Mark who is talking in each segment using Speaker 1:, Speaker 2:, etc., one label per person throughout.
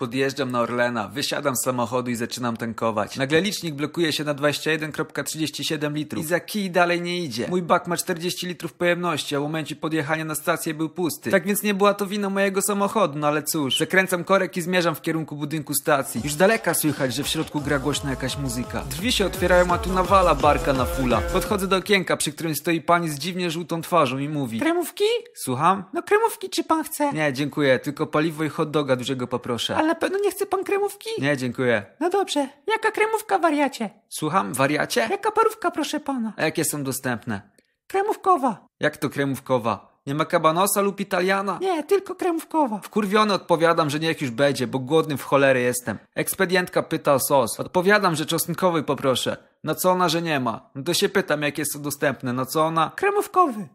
Speaker 1: Podjeżdżam na Orlena, wysiadam z samochodu i zaczynam tankować. Nagle licznik blokuje się na 21,37 litrów. I za kij dalej nie idzie. Mój bak ma 40 litrów pojemności, a w momencie podjechania na stację był pusty. Tak więc nie była to wina mojego samochodu, no ale cóż. Zakręcam korek i zmierzam w kierunku budynku stacji. Już daleka słychać, że w środku gra głośna jakaś muzyka. Drzwi się otwierają, a tu nawala barka na fula. Podchodzę do okienka, przy którym stoi pani z dziwnie żółtą twarzą i mówi.
Speaker 2: Kremówki?
Speaker 1: Słucham?
Speaker 2: No kremówki czy pan chce?
Speaker 1: Nie, dziękuję, tylko paliwo i hot doga dużego poproszę.
Speaker 2: Ale na pewno nie chce pan kremówki?
Speaker 1: Tak. Nie, dziękuję.
Speaker 2: No dobrze. Jaka kremówka, wariacie?
Speaker 1: Słucham, wariacie?
Speaker 2: Jaka parówka, proszę pana?
Speaker 1: A jakie są dostępne?
Speaker 2: Kremówkowa.
Speaker 1: Jak to kremówkowa? Nie ma kabanosa lub italiana?
Speaker 2: Nie, tylko kremówkowa.
Speaker 1: Wkurwiony odpowiadam, że niech już będzie, bo głodny w cholerę jestem. Ekspedientka pyta o sos. Odpowiadam, że czosnkowy poproszę. Na co ona, że nie ma? No to się pytam, jakie są dostępne. Na co ona?
Speaker 2: Kremówkowy.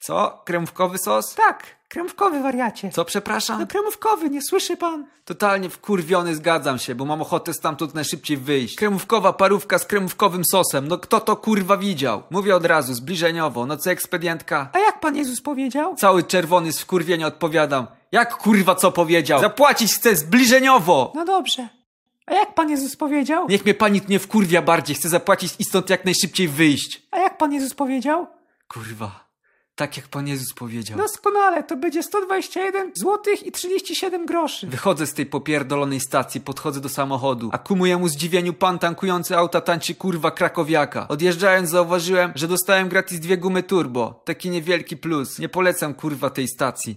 Speaker 1: Co? Kremówkowy sos?
Speaker 2: Tak, kremówkowy, wariacie.
Speaker 1: Co,
Speaker 2: No
Speaker 1: przepraszam?
Speaker 2: kremówkowy, nie słyszy pan?
Speaker 1: Totalnie wkurwiony zgadzam się, bo mam ochotę stamtąd najszybciej wyjść. Kremówkowa parówka z kremówkowym sosem. No kto to kurwa widział? Mówię od razu, zbliżeniowo. No co ekspedientka?
Speaker 2: A jak pan Jezus powiedział?
Speaker 1: Cały czerwony z wkurwienia odpowiadam. Jak kurwa co powiedział? Zapłacić chcę zbliżeniowo!
Speaker 2: No dobrze. A jak pan Jezus powiedział?
Speaker 1: Niech mnie pani nie wkurwia bardziej, chcę zapłacić i stąd jak najszybciej wyjść.
Speaker 2: A jak pan Jezus powiedział?
Speaker 1: No. Kurwa, tak jak Pan Jezus powiedział.
Speaker 2: No. Doskonale, to będzie 121 zł i 37 groszy.
Speaker 1: Wychodzę z tej popierdolonej stacji, podchodzę do samochodu, a ku mojemu zdziwieniu pan tankujący auta tańczy kurwa krakowiaka. Odjeżdżając zauważyłem, że dostałem gratis dwie gumy turbo. Taki niewielki plus. Nie polecam kurwa tej stacji.